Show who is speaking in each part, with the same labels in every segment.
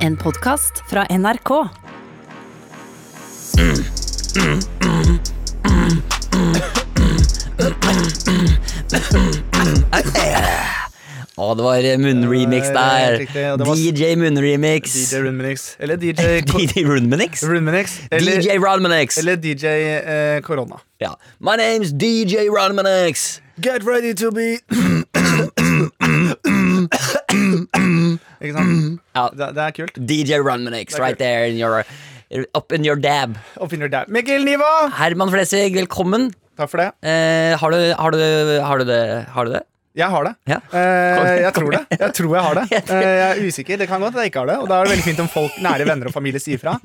Speaker 1: En podkast fra NRK.
Speaker 2: Å, det var munnremix der.
Speaker 3: Helt riktig, og det var-
Speaker 2: DJ munnremix.
Speaker 3: DJ Runmenix. Eller DJ Ko-
Speaker 2: DJ Runmanix.
Speaker 3: Runmenix. Eller,
Speaker 2: DJ Runmanix.
Speaker 3: eller DJ eh, Korona.
Speaker 2: Ja. My name's DJ Runmanix.
Speaker 3: Get ready to be Ikke sant?
Speaker 2: Ja.
Speaker 3: Det, det er kult.
Speaker 2: DJ Runmanix right there in your, up in your dab.
Speaker 3: Oppfinner der. Mikkel Niva!
Speaker 2: Herman Flesvig, velkommen.
Speaker 3: Takk for det.
Speaker 2: Eh, har, du, har, du, har du det? Har du det?
Speaker 3: Jeg har det.
Speaker 2: Ja.
Speaker 3: Eh, jeg
Speaker 2: Kom
Speaker 3: tror det.
Speaker 2: igjen.
Speaker 3: Jeg tror jeg har det.
Speaker 2: Jeg tror-
Speaker 3: Eh, jeg er usikker. Det kan godt at jeg ikke har det. Og da er det veldig fint om folk, nære venner og familie sier fra.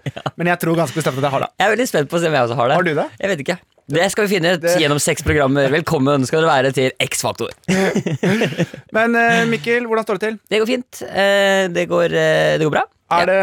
Speaker 3: Men jeg tror ganske bestemt at jeg har det.
Speaker 2: Jeg er veldig spent på å se om jeg også har det.
Speaker 3: Har du det?
Speaker 2: Jeg vet ikke. Det skal vi finne ut
Speaker 3: Det-
Speaker 2: gjennom seks programmer. Velkommen skal dere være til X-Faktor.
Speaker 3: Men eh, Mikkel, hvordan står det til?
Speaker 2: Det går fint. Eh, det, går, eh, det går bra.
Speaker 3: Er det,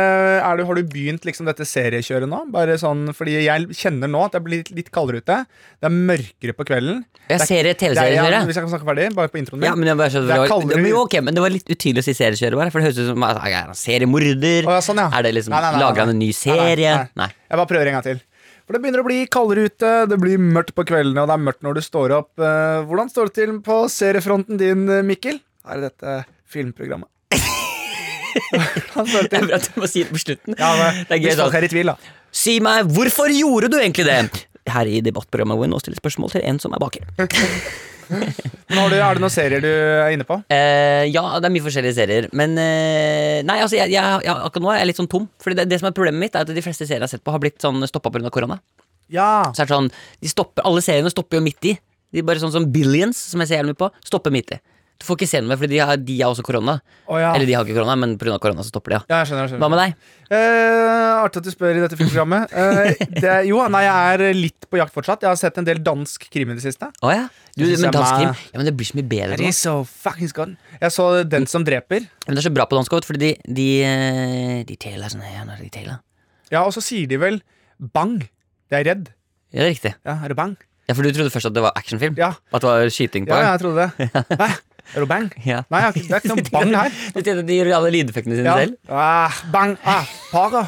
Speaker 3: er du, har du begynt liksom dette seriekjøret nå? Bare sånn, fordi jeg kjenner nå at det blir litt, litt kaldere ute. Det er mørkere på kvelden.
Speaker 2: Jeg
Speaker 3: Det er-
Speaker 2: ser
Speaker 3: det er-
Speaker 2: TV-serien
Speaker 3: ja,
Speaker 2: dere.
Speaker 3: Hvis jeg kan snakke ferdig, bare på introen min.
Speaker 2: Ja, men, jeg bare skjønner,
Speaker 3: Det
Speaker 2: det
Speaker 3: er
Speaker 2: var,
Speaker 3: kaldere
Speaker 2: men, jo,
Speaker 3: ut.
Speaker 2: ok, men det var litt utydelig å si seriekjøret, bare. For det høres ut som altså, er han seriemorder.
Speaker 3: Å, ja, sånn, ja.
Speaker 2: Er det liksom
Speaker 3: Nei, nei, nei,
Speaker 2: Lager han en
Speaker 3: nei.
Speaker 2: ny
Speaker 3: Nei, nei,
Speaker 2: serie?
Speaker 3: nei.
Speaker 2: Nei.
Speaker 3: Jeg bare prøver en gang til. For det begynner å bli kaldere ute, det blir mørkt på kveldene, og det er mørkt når du står opp. Eh, Hvordan står det til på seriefronten din, Mikkel? Her er dette filmprogrammet. Hvordan står det
Speaker 2: Det er
Speaker 3: til?
Speaker 2: bra at du må si det på slutten.
Speaker 3: Ja, men,
Speaker 2: det er gøy
Speaker 3: hvis folk
Speaker 2: sånn.
Speaker 3: er i tvil, da.
Speaker 2: Si meg, hvorfor gjorde du egentlig det? Her i debattprogrammet hvor vi nå stiller spørsmål til en som er baker.
Speaker 3: Men har du, er det noen serier du er inne på?
Speaker 2: Eh, ja, det er mye forskjellige serier. Men eh, nei, altså, jeg, jeg, jeg, akkurat nå er jeg litt sånn tom. Fordi det, det som er problemet mitt, er at de fleste serier jeg har sett på, har blitt sånn stoppa pga. korona.
Speaker 3: Ja.
Speaker 2: Så er det sånn, de stopper, Alle seriene stopper jo midt i. De er bare sånn som Billions, som jeg ser jævlig mye på, stopper midt i. Du får ikke se noe mer, fordi de har, de har også korona.
Speaker 3: Å, ja.
Speaker 2: Eller de har ikke korona, men pga. korona så stopper de. Ja.
Speaker 3: Ja, jeg skjønner, jeg skjønner.
Speaker 2: Hva med deg?
Speaker 3: Eh, artig at du spør i dette filmprogrammet. Eh, det, jo, nei, jeg er litt på jakt fortsatt. Jeg har sett en del dansk krim i det siste.
Speaker 2: Å ja. Du,
Speaker 3: Jeg synes
Speaker 2: men
Speaker 3: jeg
Speaker 2: dansk
Speaker 3: er-
Speaker 2: krim ja, men det blir så mye bedre nå.
Speaker 3: Jeg så Den som dreper.
Speaker 2: Men det er så bra på dansk også, fordi de, de, eh, de taler sånn ja, nå er det de taler.
Speaker 3: Ja, Og så sier de vel bang. Det er redd.
Speaker 2: Ja, det er riktig.
Speaker 3: Ja, er du bang?
Speaker 2: Ja, For du trodde først at det var actionfilm?
Speaker 3: Ja,
Speaker 2: At det var skyting på?
Speaker 3: ja
Speaker 2: gang?
Speaker 3: jeg trodde det. Hæ? Er du bang?
Speaker 2: Ja.
Speaker 3: Nei, jeg har ikke- det er ikke noe bang her.
Speaker 2: De tjente de gjorde alle lydeffektene sine
Speaker 3: Ja.
Speaker 2: selv.
Speaker 3: Ah, bang. Ah, para.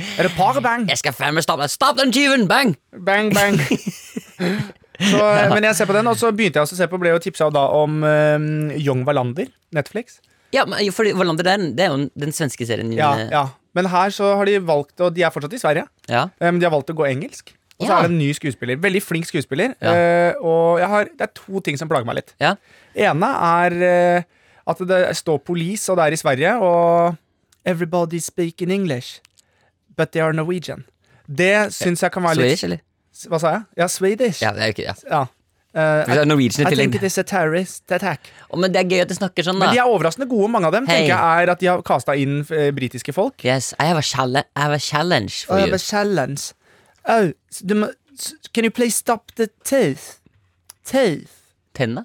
Speaker 3: Er det para-bang?
Speaker 2: Jeg skal faen meg stoppe deg. Stopp den tyven! Bang!
Speaker 3: Bang, bang. Så, men jeg ser på den, og så begynte jeg også å se på, ble jo tipsa da om um, Young Wallander, Netflix.
Speaker 2: Ja, men jo, fordi Wallander, det er, den- det er jo den- den svenske serien.
Speaker 3: Ja,
Speaker 2: eh,
Speaker 3: ja. Men her så har de valgt Og de er fortsatt i Sverige,
Speaker 2: ja.
Speaker 3: eh, men de har valgt å gå engelsk. Og så
Speaker 2: Ja.
Speaker 3: er det en ny skuespiller. Veldig flink skuespiller.
Speaker 2: Ja.
Speaker 3: eh, Og jeg har, det er to ting som plager meg litt.
Speaker 2: ja.
Speaker 3: ene er eh, at det står police, og det er i Sverige, og Everybody speak in English, but they are Norwegian. Det syns jeg kan være litt
Speaker 2: Swedish, eller?
Speaker 3: Hva sa jeg? Ja, Swedish.
Speaker 2: Ja, det er jo ikke ja.
Speaker 3: Ja. Eh,
Speaker 2: Hvis det er Norwegian
Speaker 3: I
Speaker 2: i tillegg.
Speaker 3: think it is a terrorist attack.
Speaker 2: Å, men det er gøy at de snakker sånn,
Speaker 3: Men de
Speaker 2: da.
Speaker 3: er overraskende gode, mange av dem.
Speaker 2: Hei.
Speaker 3: tenker jeg er at De har kasta inn eh, britiske folk.
Speaker 2: Yes, I have a, challe- I have a challenge for
Speaker 3: I
Speaker 2: you.
Speaker 3: have a challenge. Oh, s- du må- s- can you please stop the teeth? Teeth.
Speaker 2: Tenna?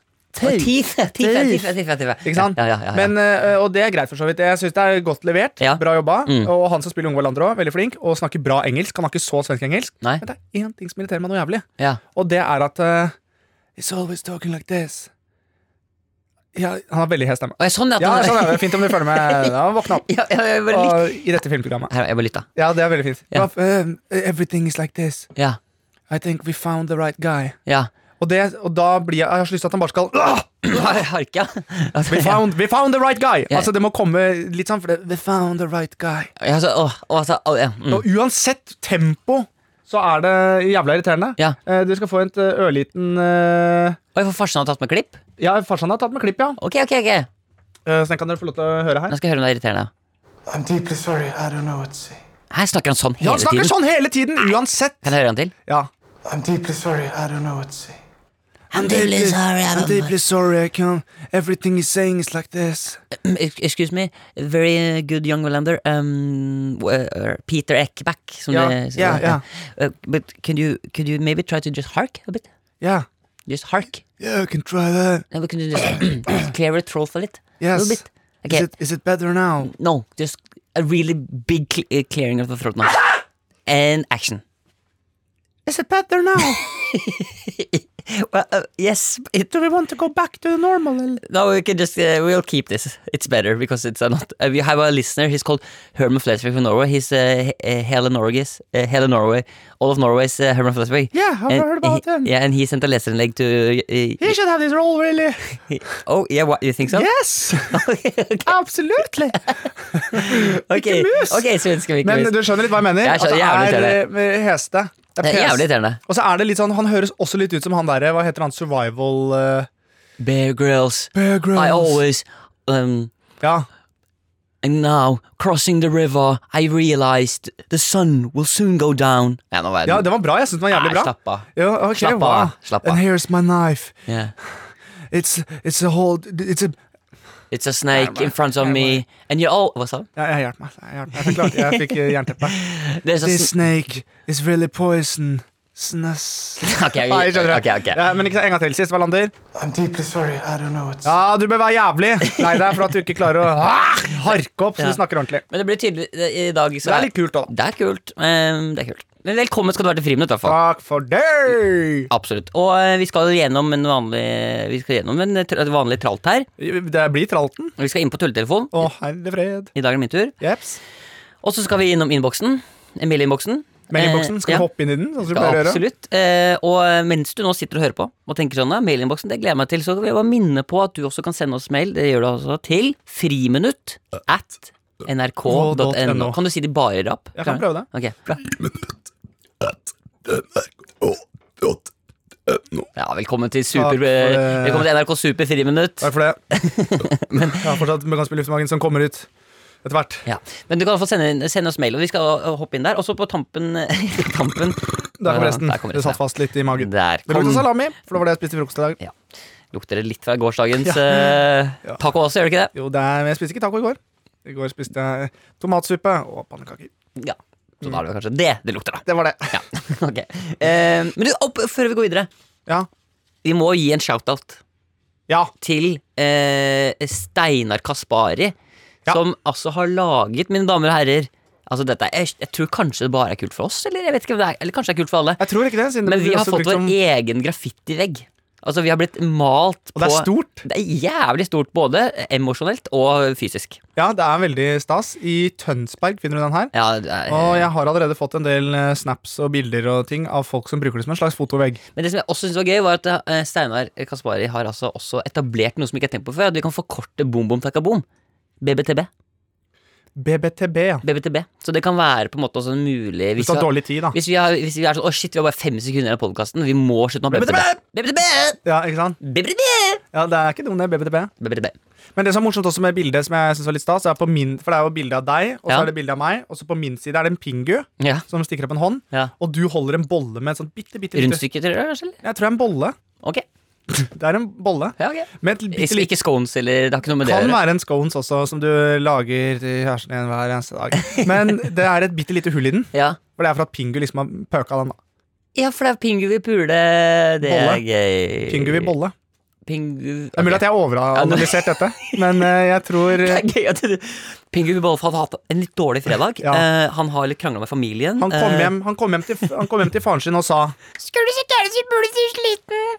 Speaker 2: Å,
Speaker 3: Teeth.
Speaker 2: teeth, teeth, teeth, teeth, teeth, teeth.
Speaker 3: Ikke sant?
Speaker 2: Ja, ja, ja, ja.
Speaker 3: Men, eh, og det er greit, for så vidt. Jeg syns det er godt levert.
Speaker 2: Ja.
Speaker 3: Bra jobba.
Speaker 2: Mm.
Speaker 3: Og han som spiller Unge Wallander òg, veldig flink. Og snakker bra engelsk. Han har ikke så svensk-engelsk.
Speaker 2: Nei.
Speaker 3: Men det er én ting som irriterer meg noe jævlig,
Speaker 2: ja.
Speaker 3: og det er at eh, It's always talking like this. Ja, han har veldig hes stemme.
Speaker 2: Å, ja, sånn, ja, at
Speaker 3: Ja,
Speaker 2: han-
Speaker 3: sånn er det. Fint om du følger med. Ja, våkna opp.
Speaker 2: ja, ja, jeg bare lyt-
Speaker 3: Og, I dette filmprogrammet.
Speaker 2: Her, jeg bare lytta.
Speaker 3: Ja, det er veldig fint.
Speaker 2: Ja.
Speaker 3: But, um, everything is like this.
Speaker 2: Ja,
Speaker 3: I think we found the right guy.
Speaker 2: ja.
Speaker 3: Og, det, og da blir jeg, jeg har så lyst til at han bare skal «Ah!
Speaker 2: Harka. Altså,
Speaker 3: We found, we found the right guy!
Speaker 2: Ja.
Speaker 3: Altså Det må komme litt sånn for det, We found the right guy.
Speaker 2: Ja, så, å, å, altså, å, ja. Mm.
Speaker 3: Og uansett tempo så er det jævla irriterende.
Speaker 2: Ja.
Speaker 3: Eh, du skal få en eh, ørliten eh,
Speaker 2: Oi, for farsan har tatt med klipp?
Speaker 3: Ja, farsan har tatt med klipp, ja.
Speaker 2: Ok, ok, ok.
Speaker 3: Eh, så den kan dere få lov til å høre her.
Speaker 2: Nå skal jeg høre om det er irriterende.
Speaker 4: I'm deeply sorry, I don't know what to say.
Speaker 2: Her snakker han sånn hele
Speaker 3: Ja, han snakker
Speaker 2: tiden.
Speaker 3: sånn hele tiden! Uansett.
Speaker 2: Kan jeg høre han til?
Speaker 3: Ja.
Speaker 4: I'm deeply sorry, I don't know what to say.
Speaker 2: I'm deeply sorry, I don't know.
Speaker 3: sorry, I can't Everything he's saying is like this.
Speaker 2: Mm, Excuse me, very good young Wallander. Um, w- uh, Peter Eckback. Som
Speaker 3: Ja,
Speaker 2: det- som
Speaker 3: ja,
Speaker 2: det-
Speaker 3: ja.
Speaker 2: Uh, but could you, could you maybe try to just hark a bit?
Speaker 3: Yeah.
Speaker 2: Just hark.
Speaker 3: Yeah, I can try that.
Speaker 2: And we can just clear it throat a little,
Speaker 3: Yes.
Speaker 2: little bit. Okay,
Speaker 3: is it better now?
Speaker 2: no, just a really big cle- uh, clearing of the throat now. And action.
Speaker 3: Is it better now?
Speaker 2: well, uh, yes, it,
Speaker 3: Do we want to go back to normal? Eller?
Speaker 2: no, we can just uh, we'll keep this. It's better because it's uh, not. Uh, we have a listener. He's called Herman Flesvig from Norway. He's uh, H- uh, Hele Norges, uh, Hele Norway, all of Norway's uh, Herman Flesvig.
Speaker 3: Yeah, I've
Speaker 2: And
Speaker 3: heard about
Speaker 2: he,
Speaker 3: him.
Speaker 2: Yeah, and he sent a leserinnlegg to. Uh,
Speaker 3: He should have this role, really.
Speaker 2: he- oh yeah, what you think so?
Speaker 3: Yes! Absolutely!
Speaker 2: okay.
Speaker 3: mus!
Speaker 2: ok, svenske Mikke
Speaker 3: Men
Speaker 2: Mus.
Speaker 3: du skjønner litt hva jeg mener?
Speaker 2: Jeg skjønner
Speaker 3: at det
Speaker 2: jævlig
Speaker 3: er eh, heste. Det
Speaker 2: Det
Speaker 3: er
Speaker 2: er jævlig
Speaker 3: pes.
Speaker 2: irriterende.
Speaker 3: Og så er det litt sånn, han høres også litt ut som han derre, hva heter han, survival eh,
Speaker 2: Bear Grylls.
Speaker 3: Bear Grylls.
Speaker 2: I always um
Speaker 3: Ja.
Speaker 2: And now, crossing the river, I realized the sun will soon go down. Ja, nå var
Speaker 3: ja, det var bra. Jeg syns den var jævlig
Speaker 2: Nei,
Speaker 3: bra.
Speaker 2: Slapp av.
Speaker 3: Ja, ok,
Speaker 2: Slapp av,
Speaker 3: wow.
Speaker 2: slapp av.
Speaker 3: And here's my knife.
Speaker 2: Yeah.
Speaker 3: It's, it's a whole it's a,
Speaker 2: It's a snake in front of me, and you all Hva sa du?
Speaker 3: ja, Jeg hjelper meg. Jeg, hjelper meg. jeg, forklarte, jeg fikk eh, jernteppe.
Speaker 2: There's a sn-
Speaker 3: This snake is really poison. Snus.
Speaker 2: Ok, vi-
Speaker 3: Nei, skjønner du.
Speaker 2: ok, ok.
Speaker 3: Ja, men ikke sant, en gang til sist, Wallander.
Speaker 4: I'm deeply sorry. I don't know what's.
Speaker 3: Ja, du bør være jævlig lei deg for at du ikke klarer å ah, harke opp så
Speaker 2: Ja.
Speaker 3: du snakker ordentlig.
Speaker 2: Men det blir tydelig i dag. Så
Speaker 3: Det er litt kult òg.
Speaker 2: Det er kult. Um, det er kult. Men velkommen skal du være til Friminutt, i hvert fall.
Speaker 3: Takk for det!
Speaker 2: Absolutt. Og eh, vi skal gjennom en vanlig Vi skal gjennom en tra- vanlig tralt her.
Speaker 3: Det blir tralten.
Speaker 2: Vi skal inn på tulletelefonen.
Speaker 3: Å, herre fred.
Speaker 2: I dag er det min tur.
Speaker 3: Jeps.
Speaker 2: Og så skal vi innom innboksen. Mail-innboksen.
Speaker 3: Mailinnboksen,
Speaker 2: Eh,
Speaker 3: skal vi
Speaker 2: ja.
Speaker 3: hoppe inn i den? Sånn som vi
Speaker 2: Ja,
Speaker 3: pleier å gjøre?
Speaker 2: absolutt. Eh, og mens du nå sitter og hører på og tenker sånn, ja, mailinnboksen, det gleder jeg meg til, så vil jeg bare minne på at du også kan sende oss mail. Det gjør du altså til friminutt at nrk.no. Kan du si det bare i rap?
Speaker 3: Jeg kan prøve det.
Speaker 2: Ok, bra. Ja, velkommen til, super, eh,
Speaker 3: Takk for det.
Speaker 2: velkommen til NRK Super friminutt.
Speaker 3: Takk for det. Jeg har fortsatt Møkans luftmagen som kommer ut etter hvert.
Speaker 2: Ja. Men du kan i hvert fall sende, inn- sende oss mail, og vi skal hoppe inn der. Og så på tampen, tampen
Speaker 3: Der kom resten.
Speaker 2: Der kom
Speaker 3: Det satt
Speaker 2: ja.
Speaker 3: fast litt i magen.
Speaker 2: Der
Speaker 3: Det lukter
Speaker 2: kom-
Speaker 3: salami, for det var det jeg spiste i frokost i dag.
Speaker 2: Ja. Lukter det litt fra gårsdagens eh,
Speaker 3: Ja.
Speaker 2: taco også, gjør det ikke det?
Speaker 3: Jo, det er, men jeg spiste ikke taco i går. I går spiste jeg tomatsuppe og pannekaker.
Speaker 2: Ja. Så da er det kanskje det det lukter, da.
Speaker 3: Det var det.
Speaker 2: Ja, ok Eh, Men du, opp, før vi går videre
Speaker 3: Ja.
Speaker 2: Vi må gi en shoutout
Speaker 3: ja.
Speaker 2: til eh, Steinar Kaspari
Speaker 3: Ja.
Speaker 2: Som altså har laget, mine damer og herrer Altså dette, er, jeg, jeg tror kanskje det bare er kult for oss Eller jeg vet ikke om det er Eller kanskje det er kult for alle
Speaker 3: Jeg tror ikke det. Siden
Speaker 2: Men
Speaker 3: det
Speaker 2: vi
Speaker 3: blir
Speaker 2: har
Speaker 3: også
Speaker 2: fått
Speaker 3: brukt
Speaker 2: vår
Speaker 3: som-
Speaker 2: egen graffitivegg Altså vi har blitt malt på
Speaker 3: Og det er stort.
Speaker 2: Det er jævlig stort både emosjonelt og fysisk
Speaker 3: Ja, det er veldig stas. I Tønsberg finner du den her.
Speaker 2: ja, det er,
Speaker 3: Og jeg har allerede fått en del eh, snaps og bilder og ting av folk som bruker det som en slags fotovegg.
Speaker 2: Men det som jeg også synes var gøy, var at eh, Steinar Kaspari har altså også etablert noe som ikke er tenkt på før. At vi kan forkorte bom bom takka bom. BBTB.
Speaker 3: BBTB, ja.
Speaker 2: BBTB. Så det kan være på en måte også en mulig Hvis vi,
Speaker 3: Hvis du har
Speaker 2: har,
Speaker 3: dårlig tid, da.
Speaker 2: hvis vi, har, hvis vi er sånn Å, shit, vi har bare fem sekunder igjen av podkasten. Vi må slutte med BBTB. BBTB!
Speaker 3: Ja, ikke sant?
Speaker 2: BBTB!
Speaker 3: Ja, Det er ikke dumt, det. BBTB.
Speaker 2: BBTB.
Speaker 3: Men det som er morsomt også med bildet, som jeg synes var litt stas, er på min, for det er jo bilde av deg, og så
Speaker 2: Ja.
Speaker 3: er det bilde av meg, og så på min side er det en pingu
Speaker 2: Ja.
Speaker 3: som stikker opp en hånd,
Speaker 2: ja.
Speaker 3: og du holder en bolle med et sånt bitte, bitte, bitte
Speaker 2: Rundstykke til dere, kanskje? eller?
Speaker 3: Jeg tror det er en bolle.
Speaker 2: Ok.
Speaker 3: Det er en bolle.
Speaker 2: Ja, ok.
Speaker 3: Med et bitte
Speaker 2: Ikke,
Speaker 3: lite
Speaker 2: ikke scones eller Det har ikke noe med det å
Speaker 3: kan
Speaker 2: gjøre.
Speaker 3: være en scones også, som du lager til kjæresten din hver eneste dag. Men det er et bitte lite hull i den,
Speaker 2: Ja.
Speaker 3: for det er for at Pingu liksom har pøka den. da.
Speaker 2: ja, for det er Pingu vil pule. Det
Speaker 3: Bolle.
Speaker 2: er gøy.
Speaker 3: Pingu vil bolle.
Speaker 2: Pingu
Speaker 3: Det er mulig at jeg har overanalysert dette, men eh, jeg tror
Speaker 2: Det
Speaker 3: eh,
Speaker 2: er gøy at du Pingu Bollefav har hatt en litt dårlig fredag.
Speaker 3: Ja.
Speaker 2: Eh, han har litt krangla med familien. Eh,
Speaker 3: han kom, hjem, han, kom hjem til, han kom hjem til faren sin og sa
Speaker 5: Skulle så kæle så burde så sliten.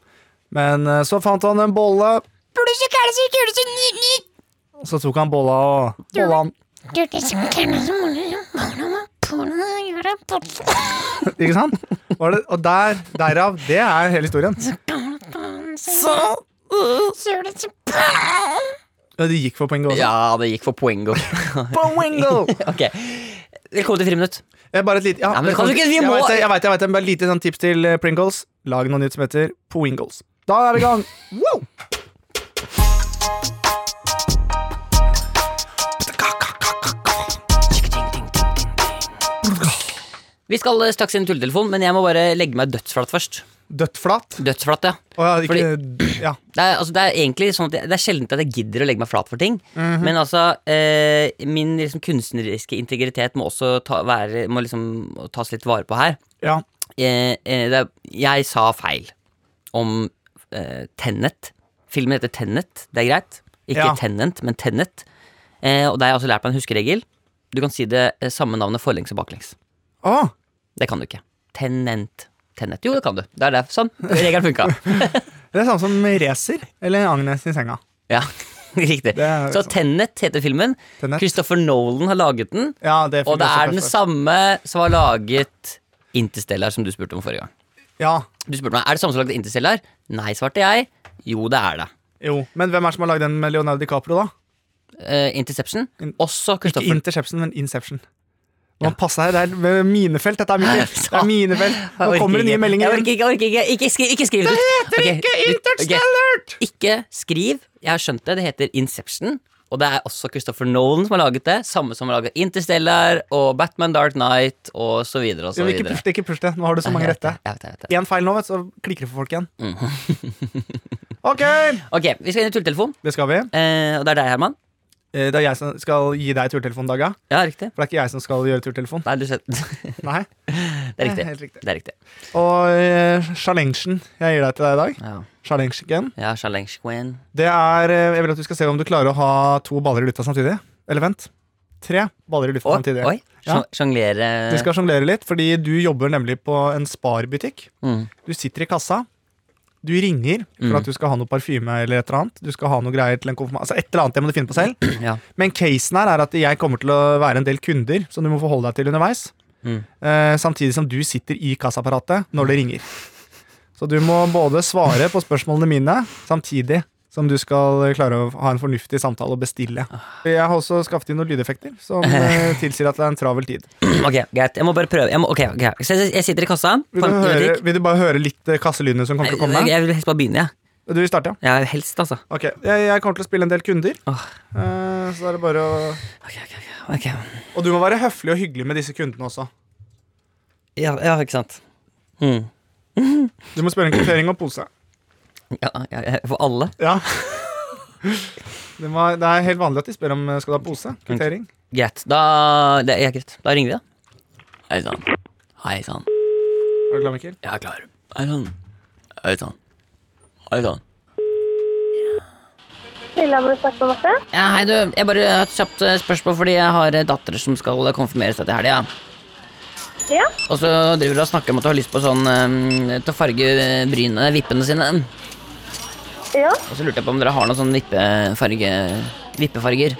Speaker 3: Men eh, så fant han en bolle,
Speaker 5: Burde så kæle så kule så nytt.
Speaker 3: og så tok han bolla og bolla han.
Speaker 5: Du er så kæle så mulig. Hvordan man puller og gjør det på
Speaker 3: Ikke sant? Var det, og der, derav, det er hele historien.
Speaker 5: Så Så er det så bra.
Speaker 3: Ja, det gikk for poenget også.
Speaker 2: Ja, det gik for poengo.
Speaker 3: Poengo!
Speaker 2: ok. Velkommen til Friminutt.
Speaker 3: Eh, Bare et lite ja,
Speaker 2: Ja, men kan du ikke- vi
Speaker 3: Jeg
Speaker 2: må-
Speaker 3: vet det, jeg vet det, jeg vet det, men bare et lite sånn tips til eh, Pringles. Lag noe nytt som heter Poingles. Da er vi i gang. Wow!
Speaker 2: Vi skal eh, straks inn i tulletelefonen, men jeg må bare legge meg dødsflat først.
Speaker 3: Dødtflat.
Speaker 2: Dødsflat, ja.
Speaker 3: Å ja, ikke Ja.
Speaker 2: Det er, altså, det er egentlig sånn at jeg, det er sjelden at jeg gidder å legge meg flat for ting.
Speaker 3: Mhm.
Speaker 2: Men altså, eh, min liksom, kunstneriske integritet må også ta, være, må liksom, tas litt vare på her.
Speaker 3: ja.
Speaker 2: eh, eh, det er, Jeg sa feil om eh, Tennet. Filmen heter Tennet, det er greit. Ikke
Speaker 3: Ja.
Speaker 2: Tenant, men Tennet. Eh, og det har jeg også lært meg en huskeregel. Du kan si det eh, samme navnet forlengs og baklengs.
Speaker 3: Å,
Speaker 2: Det kan du ikke. Tenent. Tenet. Jo, det kan du. Det er det. Sånn. Regelen funka.
Speaker 3: Det er samme som Racer eller Agnes i senga.
Speaker 2: Ja, riktig.
Speaker 3: Det er
Speaker 2: Så
Speaker 3: liksom-
Speaker 2: Tenet heter filmen.
Speaker 3: Tenet.
Speaker 2: Christopher Nolan har laget den.
Speaker 3: Ja, det
Speaker 2: Og det
Speaker 3: fungerer
Speaker 2: er den
Speaker 3: også
Speaker 2: samme som har laget Interstellar, som du spurte om forrige gang.
Speaker 3: Ja,
Speaker 2: Du spurte meg, Er det samme som har laget Interstellar? Nei, svarte jeg. Jo, det er det.
Speaker 3: jo. Men hvem er det som har lagd den med Leonardo DiCaprio, da?
Speaker 2: Eh, Interception.
Speaker 3: In-
Speaker 2: Også
Speaker 3: Ikke
Speaker 2: Christopher
Speaker 3: Interception, men Inception. Nå passer jeg, Det er ved minefelt. Dette er mitt Det er minefelt.
Speaker 2: Jeg
Speaker 3: Nå
Speaker 2: orker
Speaker 3: kommer det nye
Speaker 2: ikke.
Speaker 3: meldinger.
Speaker 2: Jeg orker ikke, jeg orker ikke. Ikke, skri, ikke skriv det ut. Det heter ikke
Speaker 3: Interstellar!
Speaker 2: Ikke skriv. Jeg har skjønt det. Det heter Inception. Og det er også Christopher Nolan som har laget det. Samme som har laget Interstellar og Batman Dark Knight og så videre og så
Speaker 3: Jo, men Ikke
Speaker 2: videre.
Speaker 3: push det, ikke push det. Nå har du så mange
Speaker 2: Jeg vet
Speaker 3: rette.
Speaker 2: det, jeg vet det, jeg vet det.
Speaker 3: Én feil nå, vet du, så klikker det for folk igjen. Mm. ok,
Speaker 2: Ok, vi skal inn i tulletelefon.
Speaker 3: det skal vi.
Speaker 2: Eh, og det er deg, Herman.
Speaker 3: Eh, Det er jeg som skal gi deg turtelefon, Daga.
Speaker 2: Ja, riktig.
Speaker 3: For det er ikke jeg som skal gjøre turtelefon.
Speaker 2: Nei, du ser Det
Speaker 3: Nei.
Speaker 2: er
Speaker 3: Det er
Speaker 2: riktig.
Speaker 3: helt riktig.
Speaker 2: Det er riktig.
Speaker 3: Og eh, challengen jeg gir deg til deg i dag,
Speaker 2: Ja.
Speaker 3: challengen,
Speaker 2: Ja, Challenge Queen.
Speaker 3: det er eh, Jeg vil at du skal se om du klarer å ha to baller i lufta samtidig. Eller vent. Tre baller i lufta
Speaker 2: Oi,
Speaker 3: samtidig.
Speaker 2: oi.
Speaker 3: Ja.
Speaker 2: Sjong- Sjonglere
Speaker 3: Du skal sjonglere litt, fordi du jobber nemlig på en sparbutikk.
Speaker 2: Mm.
Speaker 3: Du sitter i kassa. Du ringer for
Speaker 2: Mm.
Speaker 3: at du skal ha noe parfyme eller et eller annet. Du skal ha noe greier til en konfirma... Altså et eller annet, det må du finne på selv.
Speaker 2: Ja.
Speaker 3: Men casen her er at jeg kommer til å være en del kunder som du må forholde deg til underveis.
Speaker 2: Mm.
Speaker 3: Eh, samtidig som du sitter i kassaapparatet når det ringer. Så du må både svare på spørsmålene mine, samtidig som du skal klare å ha en fornuftig samtale og bestille. Jeg har også skaffet inn noen lydeffekter som eh, tilsier at det er en travel tid.
Speaker 2: Ok, greit. Jeg må bare prøve. Jeg, må, ok, ok. Så jeg, jeg sitter i kassa.
Speaker 3: Vil
Speaker 2: på
Speaker 3: du,
Speaker 2: en
Speaker 3: høre,
Speaker 2: butikk.
Speaker 3: vil du bare høre litt eh, kasselydene som kommer til å komme?
Speaker 2: Jeg, jeg vil helst bare begynne, jeg.
Speaker 3: Du vil starte, ja?
Speaker 2: Ja. Helst, altså.
Speaker 3: Ok, jeg, jeg kommer til å spille en del kunder.
Speaker 2: Åh.
Speaker 3: Eh, så er det bare å
Speaker 2: Ok, ok, ok, ok.
Speaker 3: Og du må være høflig og hyggelig med disse kundene også.
Speaker 2: Ja, ja, ikke sant. Mm.
Speaker 3: Du må spørre en kvittering og pose.
Speaker 2: Ja, ja, ja, for alle.
Speaker 3: Ja. Det, må, det er helt vanlig at de spør om eh, skal du ha pose. Kvittering.
Speaker 2: Greit. Da, det er greit. da ringer vi, da. Hei sann. Hei sann.
Speaker 3: Er du klar, Mikkel?
Speaker 2: Jeg er klar. Hei sann. Hei sann. Hei sann.
Speaker 6: Lillehammer Svartbåmatte.
Speaker 2: Ja, hei, du. Jeg bare har et kjapt eh, spørsmål fordi jeg har eh, datter som skal eh, konfirmeres etter helga.
Speaker 6: Ja.
Speaker 2: Og så driver du og snakker om at du har lyst på sånn eh, til å farge eh, brynene, vippene sine.
Speaker 6: Ja.
Speaker 2: Og så lurte jeg på om dere har noen sånne vippefarge, vippefarger.